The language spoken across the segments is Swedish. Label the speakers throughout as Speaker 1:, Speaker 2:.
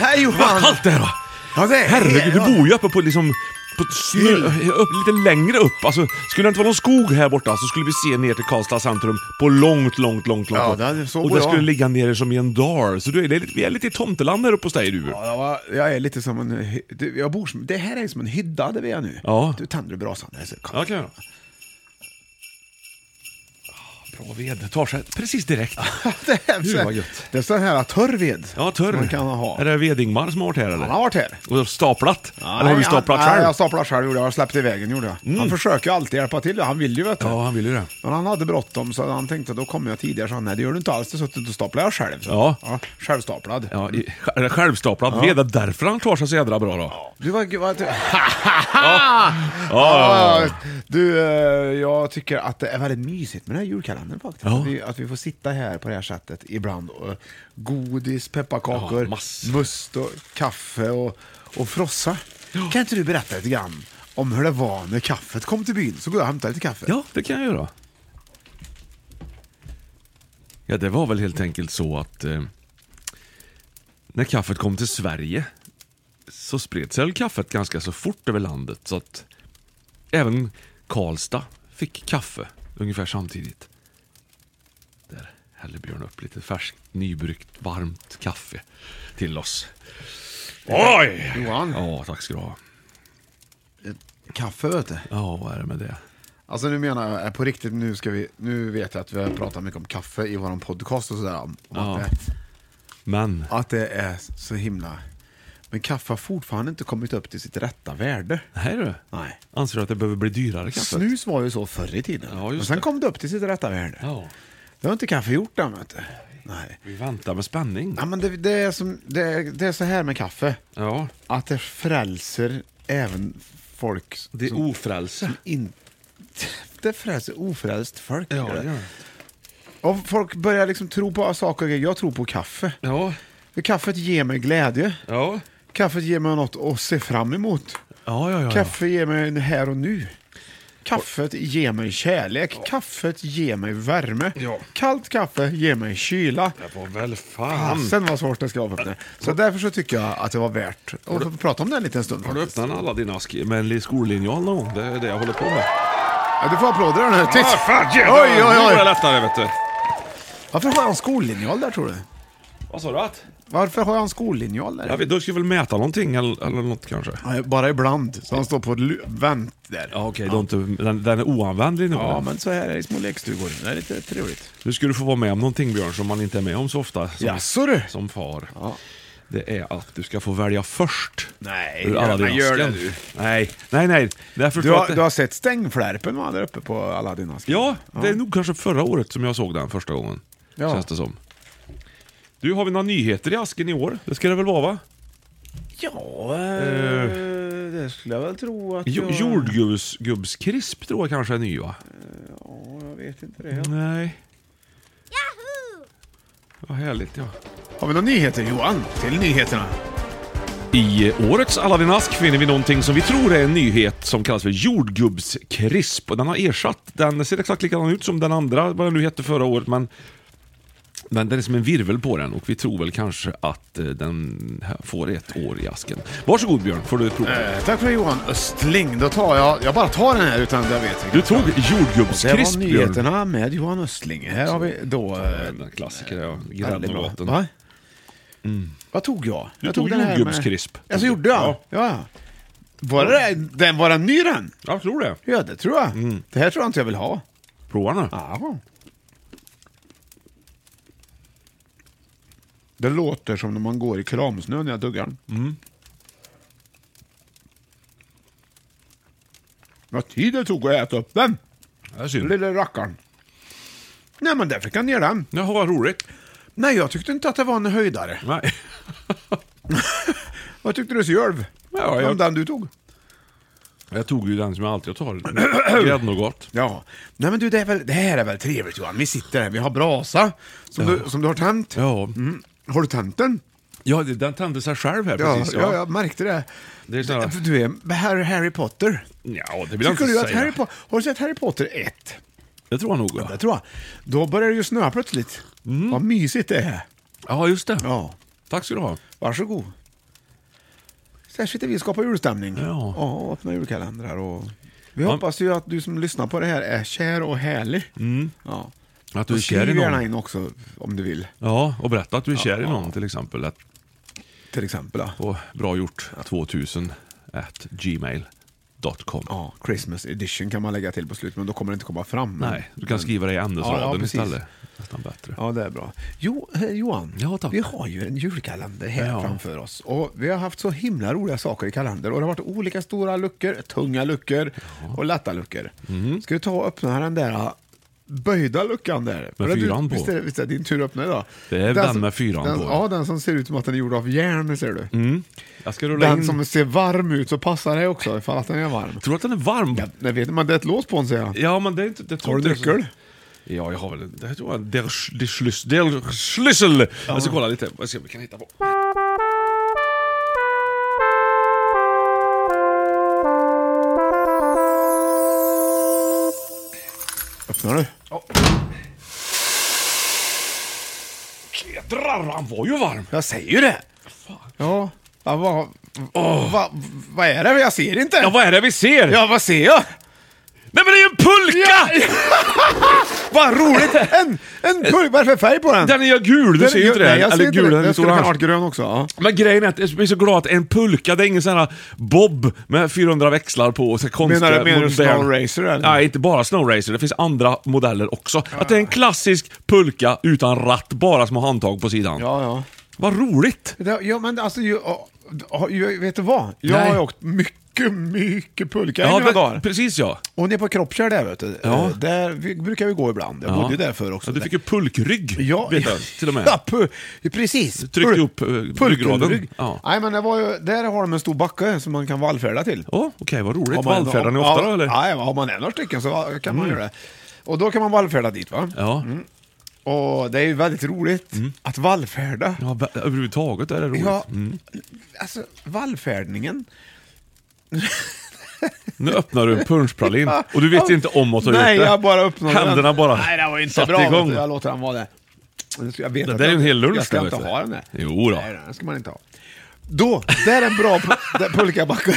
Speaker 1: Hej Johan!
Speaker 2: Vad kallt det är va?
Speaker 1: Ja, det är
Speaker 2: Herregud,
Speaker 1: det,
Speaker 2: du
Speaker 1: ja.
Speaker 2: bor ju uppe på liksom... På snö, upp, lite längre upp. Alltså, skulle det inte vara någon skog här borta så skulle vi se ner till Karlstad centrum på långt, långt, långt, långt
Speaker 1: Ja,
Speaker 2: upp.
Speaker 1: det hade- så
Speaker 2: Och
Speaker 1: bor
Speaker 2: det
Speaker 1: jag.
Speaker 2: skulle ligga nere som i en dal. Så du, är- det är lite- vi är lite i tomteland här uppe hos dig du.
Speaker 1: Ja, jag var- jag är lite som en... hy- du, Jag bor som, det här är som en hydda där vi är nu.
Speaker 2: Ja.
Speaker 1: Du tänder brasan, det är så kallt.
Speaker 2: Ja, kan jag göra. Ah, Bra ved. Tar sig precis direkt.
Speaker 1: Det är
Speaker 2: Gud,
Speaker 1: så-
Speaker 2: vad gött.
Speaker 1: Det är sån här torr ved.
Speaker 2: Ja, törr.
Speaker 1: som Man kan ha.
Speaker 2: Är det vedingmar som har varit här eller?
Speaker 1: Han har varit här.
Speaker 2: Och staplat? eller har du
Speaker 1: Nej,
Speaker 2: staplat
Speaker 1: han,
Speaker 2: själv? Mm.
Speaker 1: Nej, jag staplar själv. gjorde Jag Jag har släppt i vägen gjorde jag. Han försöker ju alltid hjälpa till. Han vill ju vet du.
Speaker 2: Ja, han vill ju det.
Speaker 1: Men han hade bråttom så han tänkte då kommer jag tidigare. Så han, nej det gör du inte alls. Det suttit och staplar jag själv. Så.
Speaker 2: Ja.
Speaker 1: Självstaplad.
Speaker 2: Ja, i, eller självstaplad ved. Det är därför han klarar sig så jädra bra då.
Speaker 1: Du var... gud, vad- du- Ja, Du, eh, jag tycker att det är väldigt mysigt med den här julkalendern faktiskt.
Speaker 2: Ja.
Speaker 1: Att, vi, att vi får sitta här på det här sättet ibland. Och godis, pepparkakor,
Speaker 2: Ja, massor.
Speaker 1: must och kaffe och, och frossa. Kan inte du berätta lite grann om hur det var när kaffet kom till byn? Så går jag och hämtar lite kaffe.
Speaker 2: Ja, det kan jag göra. Ja, det var väl helt enkelt så att eh, när kaffet kom till Sverige så spred sig väl kaffet ganska så fort över landet så att även Karlstad fick kaffe ungefär samtidigt. Där häller Björn upp lite färskt, nybryggt, varmt kaffe till oss. Oj!
Speaker 1: Johan.
Speaker 2: Ja, tack ska du ha.
Speaker 1: Kaffe vet du.
Speaker 2: Ja, vad är det med det?
Speaker 1: Alltså nu menar jag eh, på riktigt, nu, ska vi, nu vet jag att vi har pratat mycket om kaffe i våran podcast och sådär. Om, om
Speaker 2: Ja.
Speaker 1: att, det,
Speaker 2: Men,
Speaker 1: att det är så himla... Men kaffe har fortfarande inte kommit upp till sitt rätta värde.
Speaker 2: nej du.
Speaker 1: Nej.
Speaker 2: Anser du att det behöver bli dyrare kaffe?
Speaker 1: Snus var ju så förr i tiden.
Speaker 2: Ja, just
Speaker 1: Men sen
Speaker 2: det.
Speaker 1: kom det upp till sitt rätta värde.
Speaker 2: Ja.
Speaker 1: Det har inte kaffe gjort än, vet du. Nej.
Speaker 2: Vi väntar med spänning.
Speaker 1: Ja, men det, det, är som, det, är, det är så här med kaffe,
Speaker 2: Ja.
Speaker 1: att det frälser även folk
Speaker 2: Det är
Speaker 1: som
Speaker 2: ofrälse.
Speaker 1: inte... Det frälser ofrälst folk.
Speaker 2: Ja, det gör det.
Speaker 1: Och folk börjar liksom tro på saker och grejer. Jag tror på kaffe.
Speaker 2: Ja.
Speaker 1: För kaffet ger mig glädje.
Speaker 2: Ja.
Speaker 1: Kaffet ger mig något att se fram emot.
Speaker 2: Ja, ja, ja.
Speaker 1: Kaffe ger mig en här och nu. Kaffet ger mig kärlek. Kaffet ger mig värme.
Speaker 2: Ja.
Speaker 1: Kallt kaffe ger mig kyla.
Speaker 2: Det var väl fan.
Speaker 1: Fasen vad svårt det ska vara. för mig. Så därför så tycker jag att det var värt att få prata om det en liten stund.
Speaker 2: Har du
Speaker 1: faktiskt.
Speaker 2: öppnat alla dina sk- med en skollinjal någon gång? Det är det jag håller på med.
Speaker 1: Ja, du får applåder nu. Titt!
Speaker 2: Ah, fan, jävlar.
Speaker 1: oj,
Speaker 2: Nu var
Speaker 1: oj,
Speaker 2: det
Speaker 1: oj.
Speaker 2: lättare vet du.
Speaker 1: Varför har jag en skollinjal där tror du?
Speaker 2: Vad sa du? Att?
Speaker 1: Varför har jag en skollinjal där?
Speaker 2: Jag vet, du ska väl mäta någonting eller, eller något kanske?
Speaker 1: Nej, Bara ibland. Så han står på lu- vänt där.
Speaker 2: Ja okej, okay, den, den är oanvändlig nu.
Speaker 1: Ja, men så här är det i små lekstugor. Det är lite trevligt.
Speaker 2: Nu ska du få vara med om någonting Björn som man inte är med om så ofta. Som,
Speaker 1: Jaså, du?
Speaker 2: Som far. Det är att du ska få välja först.
Speaker 1: Nej,
Speaker 2: ur alla
Speaker 1: gör-
Speaker 2: dina
Speaker 1: men gör det
Speaker 2: skräll.
Speaker 1: du.
Speaker 2: Nej, nej, nej. Därför
Speaker 1: Du
Speaker 2: tror jag
Speaker 1: har,
Speaker 2: att det-
Speaker 1: du har sett stängflärpen va, där uppe på Aladdinask?
Speaker 2: Ja, det är nog kanske förra året som jag såg den första gången.
Speaker 1: Ja.
Speaker 2: Känns det som. Du, har vi några nyheter i asken i år? Det ska det väl vara va?
Speaker 1: Ja,
Speaker 2: Eh.
Speaker 1: det skulle jag väl tro att
Speaker 2: Jo, jordgubbskrisp tror jag kanske är ny va?
Speaker 1: Ja, jag vet inte det.
Speaker 2: Nej. Vad härligt ja.
Speaker 1: Har vi några nyheter Johan? Till nyheterna.
Speaker 2: I årets Aladdin Ask finner vi någonting som vi tror är en nyhet som kallas för jordgubbskrisp. Och den har ersatt, den ser exakt likadan ut som den andra, vad den nu hette förra året, men men den är som en virvel på den och vi tror väl kanske att eh, den här får ett år i asken. Varsågod Björn, får du prova.
Speaker 1: Eh, tack för det Johan Östling. Då tar jag, jag bara tar den här utan att jag vet.
Speaker 2: Du
Speaker 1: vilken.
Speaker 2: tog
Speaker 1: Det
Speaker 2: jordgubbskrisp
Speaker 1: var
Speaker 2: Björn.
Speaker 1: nyheterna med Johan Östling. Här har vi då... eh,
Speaker 2: Den klassiker, ja.
Speaker 1: väldigt
Speaker 2: Grädden och
Speaker 1: bra.
Speaker 2: vatten.
Speaker 1: Va? Vad tog jag?
Speaker 2: Du
Speaker 1: jag
Speaker 2: tog
Speaker 1: den här med-
Speaker 2: jordgubbskrisp.
Speaker 1: Alltså gjorde jag? Ja.
Speaker 2: Ja.
Speaker 1: Var, det, den, var den ny den?
Speaker 2: Jag tror det.
Speaker 1: Ja, det tror jag.
Speaker 2: Mm.
Speaker 1: Det här tror jag inte jag vill ha.
Speaker 2: Prova nu.
Speaker 1: Ja. Det låter som när man går i kramsnö när jag tuggar den.
Speaker 2: Mm.
Speaker 1: Vad tid det tog att äta upp den,
Speaker 2: Det är synd.
Speaker 1: lille rackaren. Nej, men där fick jag ner den.
Speaker 2: Jaha, vad roligt.
Speaker 1: Nej, jag tyckte inte att det var en höjdare.
Speaker 2: Nej.
Speaker 1: Vad tyckte du själv?
Speaker 2: Ja,
Speaker 1: Om
Speaker 2: jag-
Speaker 1: den du tog?
Speaker 2: Jag tog ju den som jag alltid tar. Gräddnougat.
Speaker 1: Ja. Nej men du, det, är väl, det här är väl trevligt Johan? Vi sitter här, vi har brasa som, du, som du har tänt.
Speaker 2: Ja.
Speaker 1: Mm. Har du tänt den?
Speaker 2: ja, det- den tände sig själv här
Speaker 1: Ja,
Speaker 2: precis.
Speaker 1: ja, jag märkte det.
Speaker 2: Det är sådana-
Speaker 1: Du är Harry, Harry Potter.
Speaker 2: Ja, det vill jag
Speaker 1: Tycker
Speaker 2: inte
Speaker 1: du
Speaker 2: säga.
Speaker 1: att Harry po- har du sett Harry Potter 1?
Speaker 2: Det tror jag nog. Ja,
Speaker 1: Det tror jag. Då börjar det ju snöa plötsligt. Vad mysigt det är.
Speaker 2: Mm. ja just det.
Speaker 1: Ja.
Speaker 2: Tack ska du ha.
Speaker 1: Varsågod. Så här sitter vi och skapar julstämning.
Speaker 2: Ja.
Speaker 1: och öppnar julkalendrar. Och... Vi
Speaker 2: Ja.
Speaker 1: hoppas ju att du som lyssnar på det här är kär och härlig. Ja.
Speaker 2: Mm. Att du är
Speaker 1: Och
Speaker 2: kär i
Speaker 1: skriv gärna
Speaker 2: någon.
Speaker 1: in också om du vill.
Speaker 2: Ja, och berätta att du är kär i någon till exempel. Att,
Speaker 1: Till exempel. ja.
Speaker 2: på bra gjort 2000 at gmail.com.
Speaker 1: Ja, Christmas edition kan man lägga till på slutet, men då kommer det inte komma fram.
Speaker 2: Nej, du kan skriva det i ämnesraden
Speaker 1: Ja, ja, precis.
Speaker 2: istället. Nästan bättre.
Speaker 1: Ja, det är bra. Jo, eh, Johan,
Speaker 2: Ja, tack.
Speaker 1: vi har ju en julkalender här
Speaker 2: Ja.
Speaker 1: framför oss. Och Vi har haft så himla roliga saker i kalendern. Och Det har varit olika stora luckor, tunga luckor och lätta luckor.
Speaker 2: Mhm.
Speaker 1: Ska du ta och öppna den där eh, böjda luckan där? För det är du-
Speaker 2: fyran på.
Speaker 1: Visst är, det- visst är det din tur att öppna idag?
Speaker 2: Det är den
Speaker 1: som-
Speaker 2: med fyran
Speaker 1: den,
Speaker 2: på. Mm.
Speaker 1: Ja, den som ser ut som att den är gjord av järn, ser du.
Speaker 2: Jag ska rulla
Speaker 1: Den
Speaker 2: in.
Speaker 1: som ser varm ut, så passar det också ifall att den är varm.
Speaker 2: Tror du att den är varm?
Speaker 1: Ja, jag vet men det är ett lås på den säger jag.
Speaker 2: Ja, men det är inte... Det tror
Speaker 1: Har du
Speaker 2: inte jag så-
Speaker 1: nyckel?
Speaker 2: Ja, jag har väl... Det här tror jag... Der, Sch- der, Schlüssel- der Schlüssel! Jag ska kolla lite. Jag ska se om vi kan hitta på.
Speaker 1: Öppnar du?
Speaker 2: Jädrar, han var ju varm!
Speaker 1: Jag säger ju det! Ja, ja vad va, vad är det? Jag ser inte!
Speaker 2: Ja, vad är det vi ser?
Speaker 1: Ja, vad ser jag?
Speaker 2: Nej, men det är ju en pulka!
Speaker 1: Vad Ah, roligt! En, en pulk, vad är det för färg på den?
Speaker 2: Den är ju gul, du
Speaker 1: Den
Speaker 2: ser
Speaker 1: är
Speaker 2: ju
Speaker 1: ju-
Speaker 2: inte det.
Speaker 1: Nej, jag ser
Speaker 2: Eller
Speaker 1: inte
Speaker 2: gul,
Speaker 1: det.
Speaker 2: den
Speaker 1: Den
Speaker 2: står
Speaker 1: skulle kunna
Speaker 2: orange.
Speaker 1: varit grön också. Ja.
Speaker 2: Men grejen är att jag är så glad att en pulka, det är ingen sån här bob med 400 växlar på och så här konstiga
Speaker 1: Menar du- menar du
Speaker 2: modern-
Speaker 1: Snow Racer, eller?
Speaker 2: Nej, inte bara Snow Racer. Det finns andra modeller också. Att det är en klassisk pulka utan ratt, bara små handtag på sidan.
Speaker 1: Ja, ja.
Speaker 2: Vad roligt!
Speaker 1: Det- Ja, men alltså, ju, ja, ja, ju, vet du vad? Jag
Speaker 2: Nej.
Speaker 1: har ju åkt mycket, mycket pulka i
Speaker 2: Ja,
Speaker 1: mina
Speaker 2: men-
Speaker 1: dagar.
Speaker 2: precis ja.
Speaker 1: Och nere på Kroppkärr där, vet du.
Speaker 2: Ja.
Speaker 1: eh, Där vi, brukar vi gå ibland. Jag
Speaker 2: Ja.
Speaker 1: bodde ju där förr också.
Speaker 2: ja. Du fick ju pulkrygg,
Speaker 1: Ja,
Speaker 2: vet jag, till och med.
Speaker 1: Ja, pu- precis.
Speaker 2: Du tryckte upp, eh, ryggraden.
Speaker 1: Rygg.
Speaker 2: Ja.
Speaker 1: Nej, men det var ju, där har de en stor backe som man kan vallfärda till.
Speaker 2: Åh, okej, vad roligt.
Speaker 1: man-
Speaker 2: Vallfärdar ni ofta
Speaker 1: ja,
Speaker 2: då, eller? Mm.
Speaker 1: Nej, har man en några stycken så kan man göra det. Och då kan man vallfärda dit va? Mm.
Speaker 2: Ja. Mm.
Speaker 1: Och det är ju väldigt roligt att vallfärda.
Speaker 2: Ja, Mm. va- överhuvudtaget är det roligt.
Speaker 1: Ja, alltså vallfärdningen.
Speaker 2: Nu öppnar du en punschpralin och du vet
Speaker 1: Ja.
Speaker 2: inte om att du har
Speaker 1: Nej,
Speaker 2: gjort det.
Speaker 1: jag bara öppnade
Speaker 2: Händerna
Speaker 1: den.
Speaker 2: bara
Speaker 1: Nej, det var inte
Speaker 2: satte
Speaker 1: bra. vet
Speaker 2: igång.
Speaker 1: du. Jag låter den vara där. Jag vet
Speaker 2: Det
Speaker 1: att
Speaker 2: där är ju
Speaker 1: jag-
Speaker 2: en hel lunch.
Speaker 1: Jag ska
Speaker 2: det,
Speaker 1: inte
Speaker 2: vet du.
Speaker 1: ha den där.
Speaker 2: Jo då.
Speaker 1: Nej, den ska man inte ha. Då, där är en bra pu- där pulkabacke.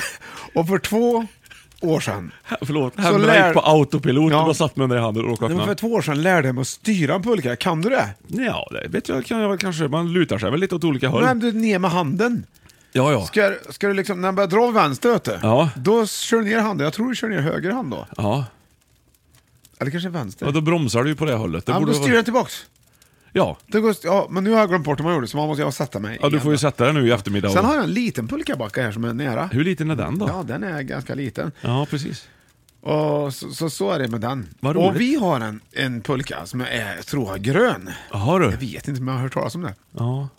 Speaker 1: Och för två år sedan
Speaker 2: Förlåt,
Speaker 1: Så
Speaker 2: händerna
Speaker 1: lär-
Speaker 2: gick på autopilot
Speaker 1: Ja.
Speaker 2: och bara satt med den där i handen och råkade
Speaker 1: Nej, men
Speaker 2: öppna.
Speaker 1: för två år sedan lärde jag mig att styra en pulka. Kan du det?
Speaker 2: Ja, det vet jag, kan jag väl kanske. Man lutar sig väl lite åt olika håll.
Speaker 1: Nej, du ner med handen.
Speaker 2: ja, ja.
Speaker 1: Ska, ska du liksom, när den börjar dra vänster, vet du,
Speaker 2: Ja.
Speaker 1: då kör du ner handen. Jag tror du kör ner höger hand då.
Speaker 2: ja.
Speaker 1: Eller kanske vänster.
Speaker 2: Ja, då bromsar du ju på det hållet. Det
Speaker 1: ja, men
Speaker 2: borde
Speaker 1: då
Speaker 2: vara-
Speaker 1: styr den tillbaks.
Speaker 2: ja.
Speaker 1: Det går, ja, men nu har jag glömt bort hur man gjorde, så man måste jag sätta mig
Speaker 2: ja, du
Speaker 1: igen
Speaker 2: får ju
Speaker 1: då.
Speaker 2: sätta dig nu i eftermiddag.
Speaker 1: Sen
Speaker 2: och-
Speaker 1: har jag en liten pulkabacke här som är nära.
Speaker 2: Hur liten är den då?
Speaker 1: Ja,
Speaker 2: Ja,
Speaker 1: den är ganska liten.
Speaker 2: precis.
Speaker 1: Och så, så, så är det med den.
Speaker 2: Vad roligt.
Speaker 1: och vi har en, en pulka som jag är, tror jag är grön.
Speaker 2: Har du?
Speaker 1: Jag vet inte om jag har hört talas om det.
Speaker 2: Ja.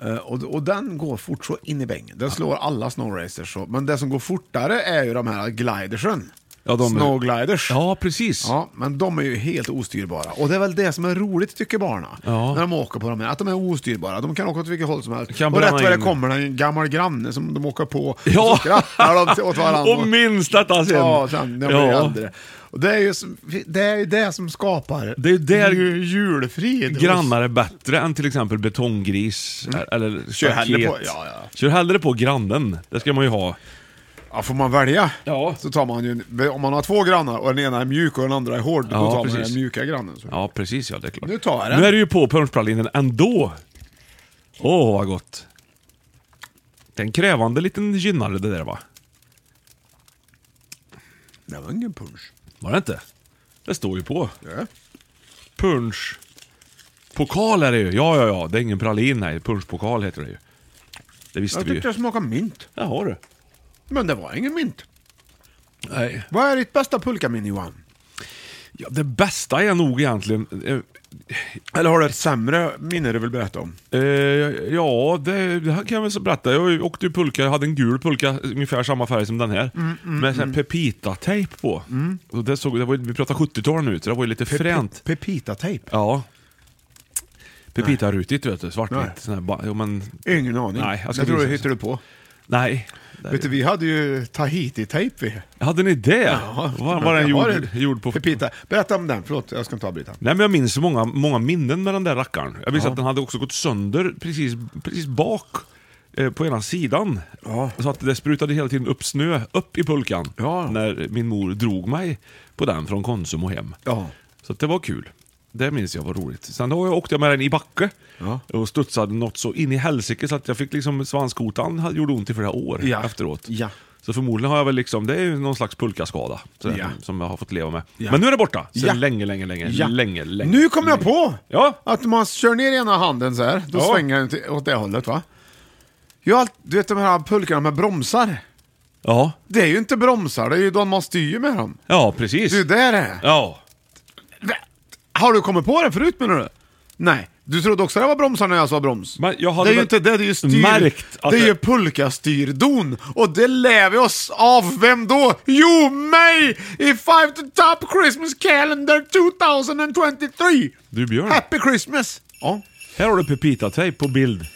Speaker 1: Eh, Och, och den går fort så in i bängen. Den slår alla snowracers. så- Men det som går fortare är ju de här glidersen.
Speaker 2: Ja, de-
Speaker 1: Snowgliders.
Speaker 2: Ja, precis.
Speaker 1: Ja, men de är ju helt ostyrbara. Och det är väl det som är roligt tycker barnen.
Speaker 2: Ja.
Speaker 1: När de åker på de här, att de är ostyrbara. De kan åka åt vilket håll som helst.
Speaker 2: Kan
Speaker 1: och rätt
Speaker 2: bränna
Speaker 1: vad det
Speaker 2: in.
Speaker 1: kommer det en gammal granne som de åker på.
Speaker 2: Ja.
Speaker 1: Och så skrattar de till- åt varandra.
Speaker 2: Och minns detta sen.
Speaker 1: Ja, sen när de blir
Speaker 2: Ja.
Speaker 1: äldre. Och det är, ju, som- det är ju det som skapar
Speaker 2: Det är ju där
Speaker 1: ju- julfrid.
Speaker 2: Grannar är bättre än till exempel betonggris eller
Speaker 1: Mm. Kör hellre på-
Speaker 2: staket.
Speaker 1: ja, ja.
Speaker 2: Kör hellre på grannen. Det ska man ju ha.
Speaker 1: Ja, får man välja
Speaker 2: Ja.
Speaker 1: så tar man ju, en- om man har två grannar och den ena är mjuk och den andra är hård, då
Speaker 2: Ja,
Speaker 1: tar man
Speaker 2: precis.
Speaker 1: den mjuka grannen. Så.
Speaker 2: Ja, precis ja, det är klart.
Speaker 1: Nu tar jag den.
Speaker 2: Nu är du ju på punschpralinen ändå. Åh, vad gott. Det är en krävande liten gynnare det där va?
Speaker 1: Det var ingen punsch.
Speaker 2: Var det inte? Det står ju på.
Speaker 1: Ja.
Speaker 2: Punsch. Pokal är det ju. Ja, ja, ja. Det är ingen pralin nej. Punschpokal heter det ju. Det visste
Speaker 1: Jag
Speaker 2: vi ju.
Speaker 1: tyckte det smakade mint,
Speaker 2: Det har du.
Speaker 1: men det var ingen mint.
Speaker 2: Nej.
Speaker 1: Vad är ditt bästa pulkamin Johan?
Speaker 2: Ja, det bästa är nog egentligen... eh,
Speaker 1: Eller har du ett sämre minne du vill berätta om?
Speaker 2: Eh, ja, det, det här kan jag väl så berätta. Jag åkte ju pulka, jag hade en gul pulka, ungefär samma färg som den här. med sån här pepitatejp på. Och det såg, det var, ju- vi pratar 70-tal nu, så det var ju lite fränt.
Speaker 1: Pepitatejp?
Speaker 2: Ja. Pepitarutigt vet du,
Speaker 1: Nej.
Speaker 2: svartvitt. Sån här ba- jo, men,
Speaker 1: Ingen aning.
Speaker 2: Nej, jag ska
Speaker 1: det tror
Speaker 2: visa
Speaker 1: du
Speaker 2: det.
Speaker 1: hittade du på.
Speaker 2: nej.
Speaker 1: Vet du, vi hade ju Tahiti-tejp. vi.
Speaker 2: Hade ni det? Var, var den
Speaker 1: Jag har
Speaker 2: gjord,
Speaker 1: en
Speaker 2: gjord på...
Speaker 1: Pepita. Berätta om den, förlåt jag ska inte avbryta.
Speaker 2: Nej men jag minns så många, många minnen med den där rackaren. Jag visste att den hade också gått sönder precis, precis bak eh, på ena sidan. Så att det sprutade hela tiden upp snö upp i pulkan
Speaker 1: Ja.
Speaker 2: när min mor drog mig på den från Konsum och hem.
Speaker 1: Ja.
Speaker 2: Så att det var kul. Det minns jag var roligt. Sen då åkte jag med den i backe
Speaker 1: Ja.
Speaker 2: och studsade något så in i helsike så att jag fick liksom svanskotan hade- gjorde ont i flera år
Speaker 1: Ja.
Speaker 2: efteråt.
Speaker 1: Ja.
Speaker 2: Så förmodligen har jag väl liksom, det är ju någon slags pulkaskada sådär,
Speaker 1: Ja.
Speaker 2: som jag har fått leva med.
Speaker 1: Ja.
Speaker 2: Men nu är det borta! Sen
Speaker 1: Ja.
Speaker 2: länge, länge, länge, länge, länge.
Speaker 1: Nu kom jag på!
Speaker 2: Ja.
Speaker 1: Att man kör ner ena handen så här, då
Speaker 2: Ja.
Speaker 1: svänger den till, åt det hållet va? Jag, har allt- du vet de här pulkorna med bromsar?
Speaker 2: Ja,
Speaker 1: Det är ju inte bromsar, det är ju de man styr med dem.
Speaker 2: ja precis.
Speaker 1: Du, där är det.
Speaker 2: Ja.
Speaker 1: Har du kommit på det förut menar du? Nej, du trodde också det var bromsar när jag sa broms.
Speaker 2: Men jag hade
Speaker 1: det är ju
Speaker 2: väl
Speaker 1: inte det, det är ju styr...
Speaker 2: märkt att
Speaker 1: det är
Speaker 2: det-
Speaker 1: ju pulkastyrdon! Och det lär vi oss av vem då? Jo, mig! I Five to Top Christmas Calendar 2023!
Speaker 2: Du Björn,
Speaker 1: Happy Christmas! Ja.
Speaker 2: här har du Pepita-tejp på bild.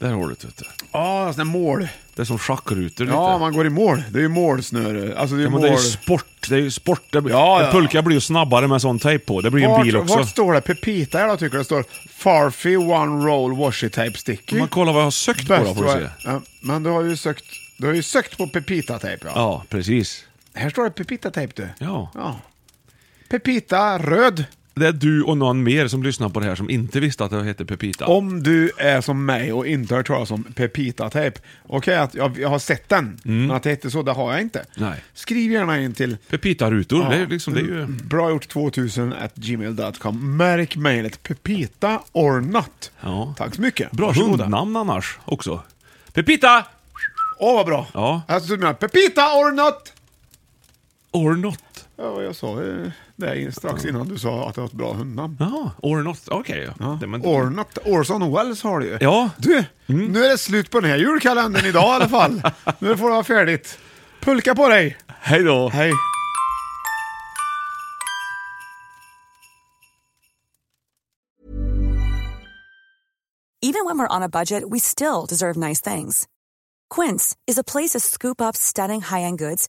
Speaker 2: Där har du det. vet du.
Speaker 1: Ja, sån där mål.
Speaker 2: Det är som schackrutor
Speaker 1: Ja,
Speaker 2: lite.
Speaker 1: man går i mål. Det är ju målsnöre. Alltså det är
Speaker 2: Ja, men
Speaker 1: ju mål.
Speaker 2: det är ju sport. Det är ju sport. Det blir,
Speaker 1: Ja, ja.
Speaker 2: En pulka blir ju snabbare med sån tejp på. Det blir ju en
Speaker 1: vart,
Speaker 2: bil också.
Speaker 1: vart står det Pepita här då tycker jag? Det står Farfi One Roll Washi Tape Sticky.
Speaker 2: Man kollar vad jag har sökt på då
Speaker 1: Bäst
Speaker 2: får du
Speaker 1: vad-
Speaker 2: se.
Speaker 1: ja, men du har ju sökt, du har ju sökt på Pepita Tape ja.
Speaker 2: Ja, precis.
Speaker 1: Här står det Pepita Tape du.
Speaker 2: Ja.
Speaker 1: ja. Pepita Röd.
Speaker 2: Det är du och någon mer som lyssnar på det här som inte visste att det hette Pepita.
Speaker 1: Om du är som mig och inte har hört talas om Pepita-tejp, okej att jag, jag har sett den, men att det hette så, det har jag inte.
Speaker 2: Mm. Nej.
Speaker 1: Skriv gärna in till
Speaker 2: Pepita-rutor, det, är
Speaker 1: Ja.
Speaker 2: liksom, det är ju...
Speaker 1: Mm. Bra gjort 2000 at gmail.com. Märk mejlet Pepita or not.
Speaker 2: Ja.
Speaker 1: Tack så mycket.
Speaker 2: Bra
Speaker 1: Varsågoda.
Speaker 2: hundnamn annars också. Pepita!
Speaker 1: Åh, vad bra.
Speaker 2: Ja.
Speaker 1: Alltså, du menar Pepita or not?
Speaker 2: Or not.
Speaker 1: Ja, jag sa eh, det är strax innan du sa att det var ett bra hundnamn.
Speaker 2: Ja, or not. Okej. ja. Det- men-
Speaker 1: Or not. Orson Welles har du ju.
Speaker 2: Ja. Mm.
Speaker 1: Du, nu är det slut på den här julkalendern idag i alla fall. nu får du ha färdigt. Pulka på dig.
Speaker 2: Hej då!
Speaker 1: Hej.
Speaker 3: Even when we're on a budget, we still deserve nice things. Quince is a place to scoop up stunning high end goods